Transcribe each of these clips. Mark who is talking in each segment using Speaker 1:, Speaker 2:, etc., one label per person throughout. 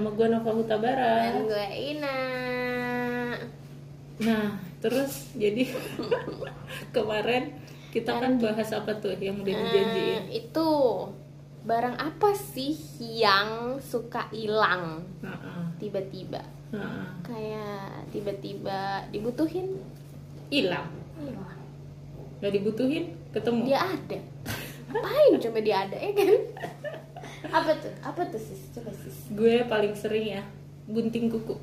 Speaker 1: Huta Barat.
Speaker 2: Dan gue Ina.
Speaker 1: Nah, terus jadi kemarin kita kan bahas apa tuh yang udah dijanjiin.
Speaker 2: Iya. Eh, itu barang apa sih yang suka hilang
Speaker 1: Heeh,
Speaker 2: tiba-tiba?
Speaker 1: heeh.
Speaker 2: Kayak tiba-tiba dibutuhin
Speaker 1: Hilang,
Speaker 2: hilang.
Speaker 1: nggak dibutuhin, ketemu.
Speaker 2: Dia ada. Apain coba dia ada ya kan? Apa tuh? Apa tuh sis? Coba sis.
Speaker 1: Gue paling sering ya gunting kuku.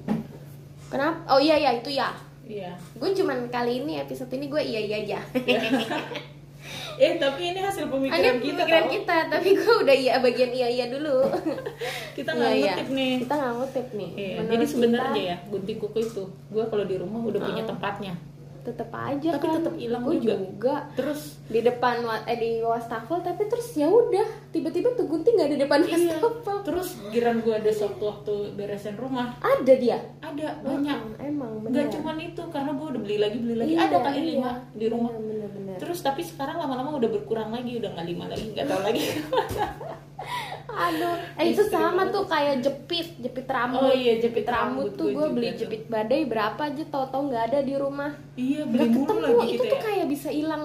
Speaker 2: Kenapa? Oh iya iya itu ya.
Speaker 1: Iya.
Speaker 2: Gue cuman kali ini episode ini gue iya iya aja.
Speaker 1: Eh tapi ini hasil
Speaker 2: Ini
Speaker 1: pemikiran kita
Speaker 2: pemikiran
Speaker 1: tau.
Speaker 2: kita, tapi gue udah iya bagian iya iya dulu.
Speaker 1: Kita nggak
Speaker 2: Iya, iya.
Speaker 1: ngutip nih.
Speaker 2: Kita nggak ngutip nih.
Speaker 1: Iya,
Speaker 2: Menurut
Speaker 1: jadi sebenarnya
Speaker 2: kita,
Speaker 1: ya gunting kuku itu gue kalau di rumah udah punya tempatnya.
Speaker 2: tetep aja
Speaker 1: Tapi
Speaker 2: kan.
Speaker 1: tetep hilang
Speaker 2: Gua
Speaker 1: juga. Terus
Speaker 2: di depan wa- eh, di wastafel tapi terus ya udah tiba-tiba tuh gunting nggak di depan
Speaker 1: iya,
Speaker 2: wastafel
Speaker 1: terus giran gue ada sewaktu waktu beresin rumah
Speaker 2: ada dia
Speaker 1: ada banyak.
Speaker 2: Hmm, emang bener
Speaker 1: Gak cuman itu karena gue udah beli lagi beli lagi
Speaker 2: Iya,
Speaker 1: ada kali
Speaker 2: iya.
Speaker 1: lima di rumah.
Speaker 2: bener bener, bener.
Speaker 1: Terus tapi sekarang lama-lama udah berkurang lagi udah nggak lima lagi nggak tahu lagi.
Speaker 2: aduh eh, itu sama tuh kayak jepit jepit rambut
Speaker 1: Oh iya, jepit rambut
Speaker 2: tuh
Speaker 1: gua
Speaker 2: gue beli
Speaker 1: juga tuh.
Speaker 2: jepit badai berapa aja tau-tau nggak ada di rumah
Speaker 1: iya beli
Speaker 2: nggak
Speaker 1: mulu
Speaker 2: ketemu
Speaker 1: lagi
Speaker 2: itu
Speaker 1: kita
Speaker 2: tuh
Speaker 1: ya.
Speaker 2: kayak bisa hilang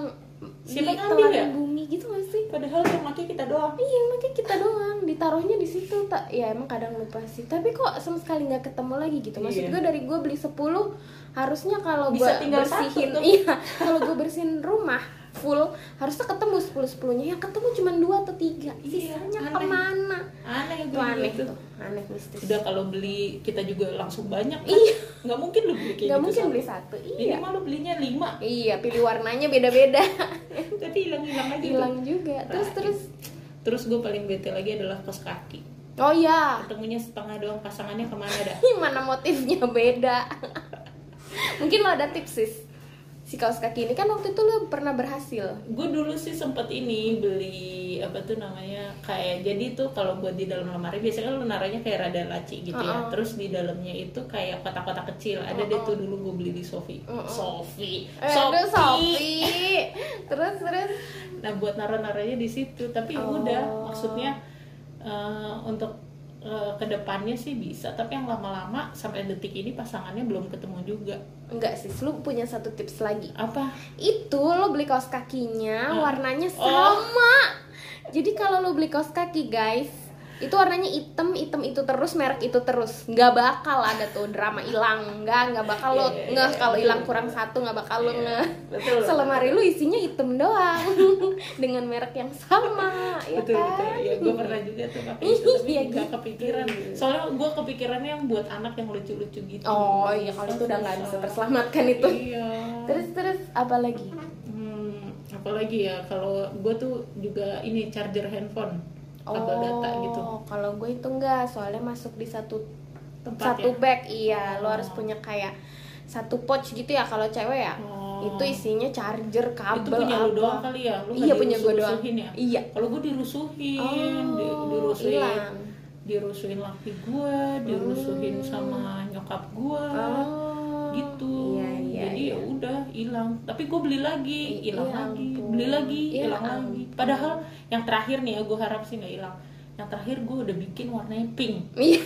Speaker 2: di
Speaker 1: Siapa ngambil
Speaker 2: telan
Speaker 1: ya?
Speaker 2: bumi gitu gak sih
Speaker 1: Padahal yang pakai kita doang.
Speaker 2: Iya, makanya kita doang ditaruhnya di situ. Tak, ya emang kadang lupa sih. Tapi kok sama sekali nggak ketemu lagi gitu. Maksud
Speaker 1: Iya.
Speaker 2: gue dari gue beli 10 harusnya kalau gue
Speaker 1: Bisa tinggal
Speaker 2: bersihin,
Speaker 1: satu tuh.
Speaker 2: iya, kalau gue bersihin rumah full harusnya ketemu 10 sepuluhnya yang ketemu cuma dua atau tiga
Speaker 1: Iya,
Speaker 2: sisanya
Speaker 1: aneh.
Speaker 2: kemana
Speaker 1: Aneh
Speaker 2: itu
Speaker 1: gue
Speaker 2: aneh
Speaker 1: gitu.
Speaker 2: tuh aneh mistis
Speaker 1: Udah kalau beli kita juga langsung banyak. kan?
Speaker 2: Iya.
Speaker 1: Nggak mungkin lu beli kayak
Speaker 2: nggak
Speaker 1: gitu.
Speaker 2: mungkin
Speaker 1: satu.
Speaker 2: beli satu iya
Speaker 1: Minimal lu belinya lima. Eh,
Speaker 2: iya pilih warnanya beda-beda
Speaker 1: Tapi hilang-hilang aja. tuh.
Speaker 2: hilang juga terus
Speaker 1: Right.
Speaker 2: terus
Speaker 1: Terus gue paling bete lagi adalah kos kaki.
Speaker 2: oh ya
Speaker 1: Ketemunya setengah doang pasangannya kemana dah?
Speaker 2: mana motifnya beda mungkin lo ada tips sis si kaos kaki ini kan waktu itu lo pernah berhasil
Speaker 1: gue dulu sih sempet ini beli apa tuh namanya kayak jadi tuh kalau buat di dalam lemari biasanya lu naruhnya kayak rada laci gitu ya
Speaker 2: Uh-uh.
Speaker 1: terus di dalamnya itu kayak kotak-kotak kecil ada deh tuh dulu gue beli di Sofi
Speaker 2: Uh-uh.
Speaker 1: Sofi
Speaker 2: Eh, aduh, Sophie. terus terus
Speaker 1: nah buat naruh-naruhnya di situ tapi
Speaker 2: Oh.
Speaker 1: udah maksudnya eh, untuk eh, kedepannya sih bisa tapi yang lama-lama sampai detik ini pasangannya belum ketemu juga
Speaker 2: enggak sis lo punya satu tips lagi
Speaker 1: apa
Speaker 2: itu lo beli kaos kakinya warnanya
Speaker 1: Oh.
Speaker 2: sama jadi kalau lo beli kaos kaki guys itu warnanya hitam hitam itu terus merek itu terus nggak bakal ada tuh drama hilang nggak nggak bakal lo
Speaker 1: Iya, iya,
Speaker 2: ngeh
Speaker 1: iya,
Speaker 2: kalau
Speaker 1: betul,
Speaker 2: hilang
Speaker 1: betul.
Speaker 2: kurang satu nggak bakal lo
Speaker 1: Iya,
Speaker 2: ngeh
Speaker 1: betul.
Speaker 2: selemari lu isinya hitam doang dengan merek yang sama ya
Speaker 1: betul
Speaker 2: kan
Speaker 1: betul ya gue pernah juga tuh pakai itu tapi
Speaker 2: Iya,
Speaker 1: nggak
Speaker 2: gitu.
Speaker 1: kepikiran soalnya gue kepikirannya yang buat anak yang lucu-lucu gitu
Speaker 2: oh iya kalau itu udah nggak bisa terselamatkan itu
Speaker 1: iya
Speaker 2: terus terus apa lagi
Speaker 1: hmm, apalagi ya kalau gue tuh juga ini charger handphone kabel data gitu
Speaker 2: Oh, kalau gue itu enggak, soalnya masuk di satu
Speaker 1: Tempat
Speaker 2: satu
Speaker 1: ya?
Speaker 2: bag. Iya, lo harus
Speaker 1: Oh.
Speaker 2: punya kayak satu pouch gitu ya kalau cewek ya.
Speaker 1: Oh.
Speaker 2: Itu isinya charger, kabel
Speaker 1: itu punya lu
Speaker 2: apa.
Speaker 1: doang kali ya lu nggak
Speaker 2: Iya, punya gue doang.
Speaker 1: dirusuh-rusuhin ya
Speaker 2: Iya.
Speaker 1: kalau gue dirusuhin di-
Speaker 2: Oh,
Speaker 1: dirusuhin
Speaker 2: hilang.
Speaker 1: dirusuhin laki gue dirusuhin sama nyokap gue
Speaker 2: Oh.
Speaker 1: gitu
Speaker 2: Iya, iya,
Speaker 1: jadi
Speaker 2: iya.
Speaker 1: ya udah hilang tapi gue beli lagi
Speaker 2: I-
Speaker 1: hilang
Speaker 2: ya
Speaker 1: lagi
Speaker 2: ampun.
Speaker 1: beli lagi
Speaker 2: Ya
Speaker 1: hilang
Speaker 2: ampun.
Speaker 1: lagi padahal yang terakhir nih ya gue harap sih nggak hilang yang terakhir gue udah bikin warnanya pink
Speaker 2: Iya.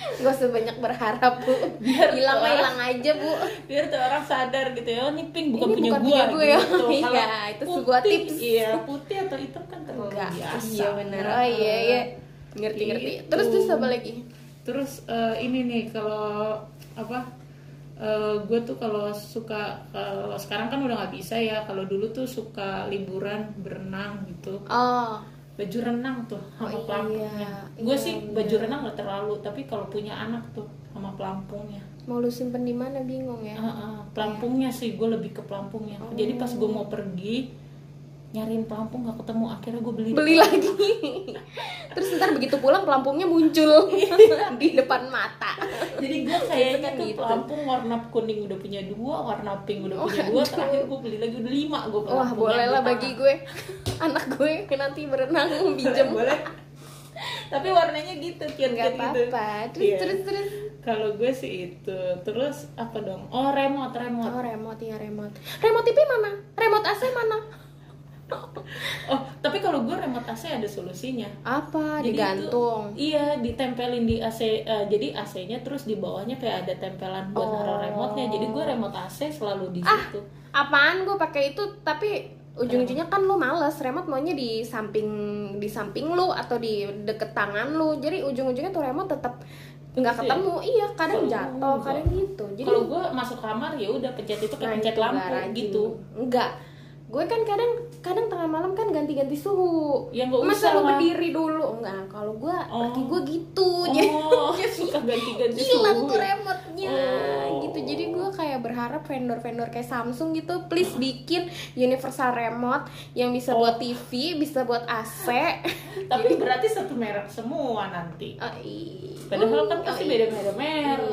Speaker 2: Gak usah banyak berharap, Bu.
Speaker 1: Biar
Speaker 2: Hilang mah
Speaker 1: kelar.
Speaker 2: hilang aja, Bu.
Speaker 1: biar tuh orang sadar gitu ya oh, ini pink bukan
Speaker 2: Ini
Speaker 1: punya
Speaker 2: bukan
Speaker 1: gue
Speaker 2: punya gua ya.
Speaker 1: gitu
Speaker 2: Iya, itu sebuah
Speaker 1: putih,
Speaker 2: tips.
Speaker 1: iya putih atau hitam kan terlalu
Speaker 2: Enggak.
Speaker 1: biasa Nah,
Speaker 2: Iya benar. Oh iya iya. Ngerti ngerti.
Speaker 1: Gitu.
Speaker 2: Terus terus apa lagi?
Speaker 1: terus eh, ini nih kalau apa gue tuh kalau suka kalau sekarang kan udah nggak bisa ya kalau dulu tuh suka liburan berenang gitu
Speaker 2: Oh,
Speaker 1: baju renang tuh sama
Speaker 2: Oh, iya,
Speaker 1: pelampungnya gue sih baju renang nggak terlalu tapi kalau punya anak tuh sama pelampungnya
Speaker 2: mau lu simpen di mana bingung ya.
Speaker 1: Heeh, pelampungnya sih gue lebih ke pelampungnya jadi pas gue
Speaker 2: Oh.
Speaker 1: mau pergi nyariin pelampung nggak ketemu akhirnya gue beli
Speaker 2: beli lagi terus ntar begitu pulang pelampungnya muncul di depan mata
Speaker 1: jadi gue kayaknya
Speaker 2: kan
Speaker 1: tuh
Speaker 2: gitu.
Speaker 1: pelampung warna kuning udah punya dua warna pink udah punya dua terakhir gue beli lagi udah lima Gitu. gue
Speaker 2: Oh, wah boleh lah bagi gue anak gue nanti berenang pinjem
Speaker 1: boleh tapi warnanya gitu kian
Speaker 2: nggak apa-apa terus
Speaker 1: Iya.
Speaker 2: terus terus
Speaker 1: kalau gue sih itu terus apa dong oh remote remote
Speaker 2: oh remote ya remote remote TV mana remote AC mana
Speaker 1: oh tapi kalau gue remote AC ada solusinya
Speaker 2: Apa?
Speaker 1: Jadi itu-
Speaker 2: Digantung.
Speaker 1: iya ditempelin di AC eh, jadi AC-nya terus di bawahnya kayak ada tempelan buat
Speaker 2: Oh. Ah,
Speaker 1: naruh remote-nya jadi gue remote AC selalu di situ
Speaker 2: Apaan gue pakai itu tapi ujung-ujungnya kan lu males remote maunya di samping di samping lu atau di deket tangan lu jadi ujung-ujungnya tuh remote tetap nggak
Speaker 1: Gitu ya?
Speaker 2: ketemu iya kadang
Speaker 1: Selalu
Speaker 2: jatuh
Speaker 1: enggak.
Speaker 2: kadang gitu jadi
Speaker 1: kalau gue masuk kamar ya udah pencet
Speaker 2: Nah,
Speaker 1: itu kayak pencet
Speaker 2: itu
Speaker 1: lampu
Speaker 2: nggak rajin.
Speaker 1: gitu
Speaker 2: enggak gue kan kadang kadang tengah malam kan ganti-ganti suhu
Speaker 1: Ya, nggak usah
Speaker 2: masa lu
Speaker 1: lah.
Speaker 2: berdiri dulu enggak kalau gue
Speaker 1: Oh.
Speaker 2: kaki gue gitu jadi
Speaker 1: oh suka ganti-ganti
Speaker 2: hilang
Speaker 1: suhu
Speaker 2: tuh
Speaker 1: ya?
Speaker 2: remote-nya
Speaker 1: Oh.
Speaker 2: gitu jadi gue kayak berharap vendor-vendor kayak Samsung gitu please bikin universal remote yang bisa
Speaker 1: Oh.
Speaker 2: buat TV bisa buat AC
Speaker 1: tapi berarti satu merek semua nanti
Speaker 2: Oh, i-
Speaker 1: padahal kan
Speaker 2: oh,
Speaker 1: pasti
Speaker 2: i-
Speaker 1: beda-beda
Speaker 2: iya,
Speaker 1: merek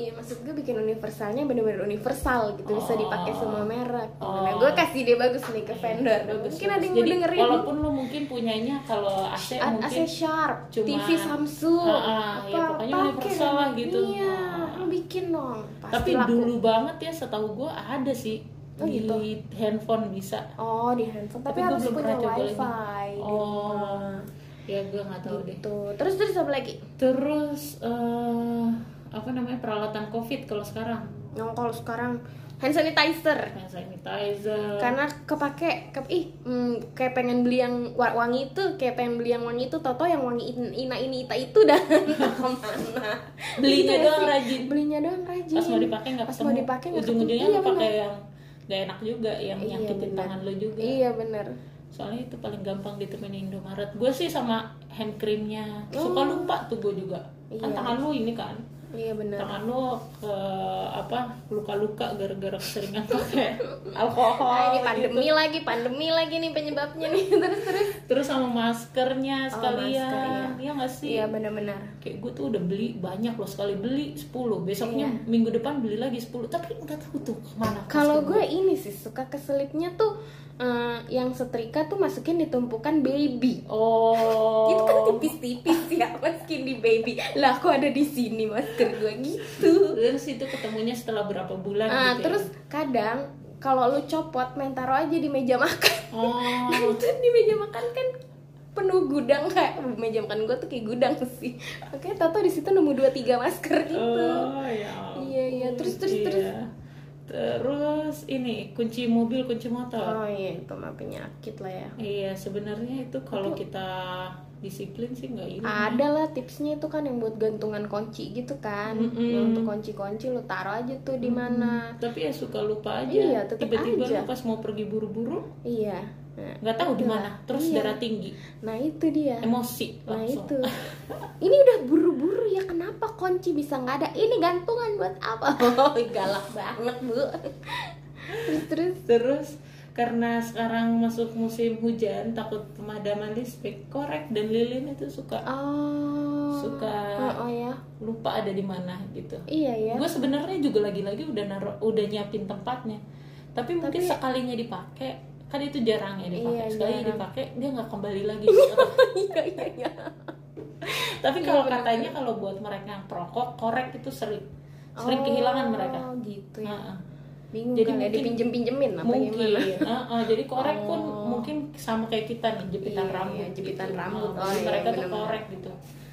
Speaker 2: Iya, maksud gue bikin universalnya bener-bener universal gitu bisa dipakai
Speaker 1: Oh.
Speaker 2: semua merek.
Speaker 1: Oh. Iya,
Speaker 2: Nah, gue kasih dia bagus nih ke vendor.
Speaker 1: Bagus,
Speaker 2: Mungkin ada
Speaker 1: bagus.
Speaker 2: yang
Speaker 1: Jadi,
Speaker 2: dengerin.
Speaker 1: walaupun lo mungkin punyanya kalau AC
Speaker 2: A- AC
Speaker 1: mungkin
Speaker 2: Sharp,
Speaker 1: cuma-
Speaker 2: TV Samsung,
Speaker 1: Ah, ah, ya, pokoknya universal lah gitu.
Speaker 2: Iya,
Speaker 1: Ah.
Speaker 2: bikin dong. Pasti
Speaker 1: tapi
Speaker 2: laku.
Speaker 1: dulu banget ya setahu gue ada sih
Speaker 2: Oh,
Speaker 1: di
Speaker 2: gitu.
Speaker 1: handphone bisa
Speaker 2: Oh di handphone, tapi,
Speaker 1: Tapi gua
Speaker 2: harus
Speaker 1: belum
Speaker 2: punya
Speaker 1: pernah coba lagi.
Speaker 2: wifi di rumah.
Speaker 1: oh ya gue nggak tahu deh
Speaker 2: gitu. Terus terus apa lagi?
Speaker 1: terus eh, apa namanya peralatan covid kalau sekarang
Speaker 2: Yang kalau sekarang hand sanitizer.
Speaker 1: hand sanitizer
Speaker 2: Karena kepake, ke, ih, hmm, kayak pengen beli yang wa- wangi itu, kayak pengen beli yang wangi itu, toto yang wangi in- ina ini ita itu dah entah kemana.
Speaker 1: belinya
Speaker 2: Iya
Speaker 1: doang
Speaker 2: sih,
Speaker 1: rajin
Speaker 2: Belinya doang rajin.
Speaker 1: pas mau dipakai nggak
Speaker 2: Pas
Speaker 1: ketemu
Speaker 2: mau dipakai nggak
Speaker 1: ujung-ujungnya
Speaker 2: ketemu.
Speaker 1: lo
Speaker 2: Iya,
Speaker 1: pakai
Speaker 2: benar.
Speaker 1: yang gak enak juga yang
Speaker 2: Iya,
Speaker 1: nyakitin
Speaker 2: benar.
Speaker 1: tangan lo juga
Speaker 2: Iya bener.
Speaker 1: soalnya itu paling gampang ditemuin Indomaret gue sih sama hand creamnya suka
Speaker 2: Oh.
Speaker 1: lupa tuh gue juga
Speaker 2: Iya.
Speaker 1: kan tangan lo ini kan
Speaker 2: Iya bener.
Speaker 1: tangan lo ke apa luka-luka gara-gara keseringan pakai alkohol
Speaker 2: Nah, ini
Speaker 1: gitu.
Speaker 2: pandemi lagi, pandemi lagi nih penyebabnya nih. Terus terus.
Speaker 1: terus sama maskernya
Speaker 2: Oh,
Speaker 1: sekalian
Speaker 2: masker, iya.
Speaker 1: iya nggak sih
Speaker 2: Iya benar-benar.
Speaker 1: kayak gue tuh udah beli banyak loh sekali beli 10 besoknya minggu depan beli lagi 10 tapi nggak tahu tuh kemana
Speaker 2: Iya. Kalau gue ini sih suka keselipnya tuh eh, yang setrika tuh masukin di tumpukan baby.
Speaker 1: oh
Speaker 2: Itu kan tipis-tipis ya masukin di baby. Lah aku ada di sini masker gue gitu.
Speaker 1: terus itu ketemunya setelah berapa bulan
Speaker 2: Ah,
Speaker 1: gitu ya?
Speaker 2: terus kadang kalau lu copot main taruh aja di meja makan.
Speaker 1: oh
Speaker 2: Itu di meja makan kan penuh gudang kayak "Uh, meja makan gue tuh kayak gudang sih. Oke, tato di situ nemu dua tiga masker gitu.
Speaker 1: oh ya ampun.
Speaker 2: Iya, iya. Terus, terus,
Speaker 1: Iya.
Speaker 2: terus.
Speaker 1: terus ini kunci mobil kunci motor
Speaker 2: Oh iya itu mah penyakit lah ya.
Speaker 1: iya sebenarnya itu kalau kita disiplin sih nggak ini
Speaker 2: Ada lah tipsnya itu kan yang buat gantungan kunci gitu kan.
Speaker 1: Mm-mm.
Speaker 2: Yang untuk kunci-kunci lu taruh aja tuh di mana.
Speaker 1: tapi ya suka lupa aja
Speaker 2: Iya, tetep
Speaker 1: tiba-tiba
Speaker 2: aja.
Speaker 1: lu pas mau pergi buru-buru
Speaker 2: Iya. Nah,
Speaker 1: nggak tahu di mana terus
Speaker 2: Iya.
Speaker 1: darah tinggi
Speaker 2: nah itu dia.
Speaker 1: emosi
Speaker 2: Nah
Speaker 1: langsung
Speaker 2: itu. Ini udah buru-buru ya kenapa kunci bisa nggak ada? Ini gantungan buat apa? Oh, galak banget, Bu. terus terus
Speaker 1: terus karena sekarang masuk musim hujan takut pemadaman listrik korek dan lilin itu suka
Speaker 2: oh.
Speaker 1: Suka.
Speaker 2: Oh, oh ya.
Speaker 1: lupa ada di mana gitu
Speaker 2: Iya ya.
Speaker 1: gue sebenarnya juga lagi-lagi udah naro, udah nyiapin tempatnya tapi mungkin sekalinya dipakai kan itu jarang ya dipakai
Speaker 2: Iya,
Speaker 1: sekali
Speaker 2: jarang.
Speaker 1: dipakai dia nggak kembali lagi
Speaker 2: Iya iya iya.
Speaker 1: tapi kalau
Speaker 2: benar.
Speaker 1: katanya kalau buat mereka yang perokok korek itu sering sering kehilangan
Speaker 2: Oh,
Speaker 1: mereka
Speaker 2: gitu ya.
Speaker 1: Heeh.
Speaker 2: Bingung Jadi kali
Speaker 1: Jadi
Speaker 2: ya,
Speaker 1: mungkin-
Speaker 2: dipinjem-pinjemin apa
Speaker 1: mungkin
Speaker 2: gimana?
Speaker 1: Heeh, jadi korek pun
Speaker 2: Oh.
Speaker 1: mungkin sama kayak kita nih jepitan
Speaker 2: Iya,
Speaker 1: rambut
Speaker 2: iya, jepitan
Speaker 1: gitu.
Speaker 2: rambut. Oh,
Speaker 1: Heeh, jadi
Speaker 2: iya,
Speaker 1: mereka tuh
Speaker 2: benar-benar.
Speaker 1: korek gitu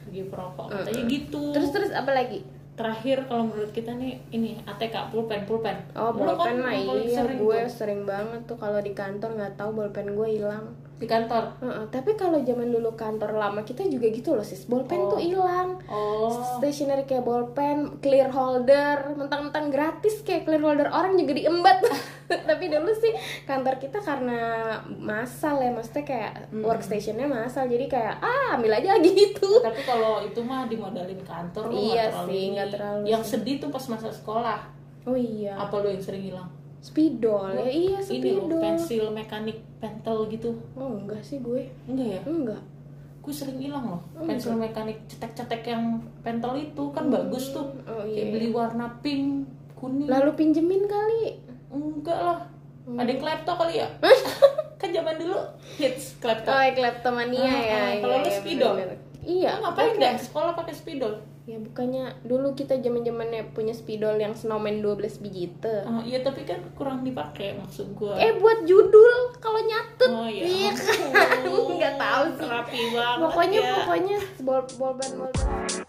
Speaker 1: bagi perokok
Speaker 2: Heeh.
Speaker 1: katanya gitu
Speaker 2: Terus terus apa lagi?
Speaker 1: terakhir kalau menurut kita nih ini ATK pulpen pulpen
Speaker 2: Oh
Speaker 1: Lu kan
Speaker 2: bolpen mah
Speaker 1: yang paling
Speaker 2: iya,
Speaker 1: sering
Speaker 2: gue
Speaker 1: tuh
Speaker 2: sering banget tuh kalau di kantor nggak tahu bolpen gue hilang.
Speaker 1: di kantor
Speaker 2: Heeh, tapi kalau zaman dulu kantor lama kita juga gitu loh sis, bolpen
Speaker 1: Oh.
Speaker 2: tuh hilang.
Speaker 1: Oh,
Speaker 2: Stationery kayak bolpen, clear holder, mentang-mentang gratis kayak clear holder orang juga diembat. tapi dulu sih kantor kita karena masal ya, maksudnya kayak workstationnya masal, jadi kayak ah ambil aja gitu.
Speaker 1: tapi kalau itu mah dimodalin kantor
Speaker 2: Iya
Speaker 1: lu nggak terlalu
Speaker 2: sih,
Speaker 1: ini.
Speaker 2: nggak terlalu
Speaker 1: Yang
Speaker 2: sih.
Speaker 1: sedih tuh pas masa sekolah.
Speaker 2: Oh iya,
Speaker 1: Apa lu yang sering hilang?
Speaker 2: spidol ya iya
Speaker 1: Ini
Speaker 2: spidol.
Speaker 1: loh, pensil mekanik, pentel gitu.
Speaker 2: Oh enggak sih gue,
Speaker 1: Enggak ya?
Speaker 2: enggak.
Speaker 1: Gue sering hilang loh.
Speaker 2: Oh,
Speaker 1: pensil mekanik cetek-cetek yang pentel itu kan bagus tuh.
Speaker 2: Oh
Speaker 1: Kayak
Speaker 2: iya.
Speaker 1: beli warna pink, kuning.
Speaker 2: Lalu pinjemin kali.
Speaker 1: Enggak lah.
Speaker 2: Hmm.
Speaker 1: Ada yang klepto kali ya? kan zaman dulu hits klepto.
Speaker 2: Oh, kleptomania
Speaker 1: Ah,
Speaker 2: ya.
Speaker 1: ah, kalau
Speaker 2: iya,
Speaker 1: lu
Speaker 2: iya,
Speaker 1: spidol.
Speaker 2: bener-bener. Iya.
Speaker 1: Lu ngapain dah sekolah pakai spidol?
Speaker 2: Ya bukannya dulu kita zaman-zamannya punya spidol yang snowman 12 biji itu.
Speaker 1: Oh, Ah, Iya tapi kan kurang dipakai maksud gue.
Speaker 2: Eh buat Eh, judul kalau nyatet
Speaker 1: rapi banget
Speaker 2: pokoknya
Speaker 1: ya.
Speaker 2: pokoknya bol bolban bolban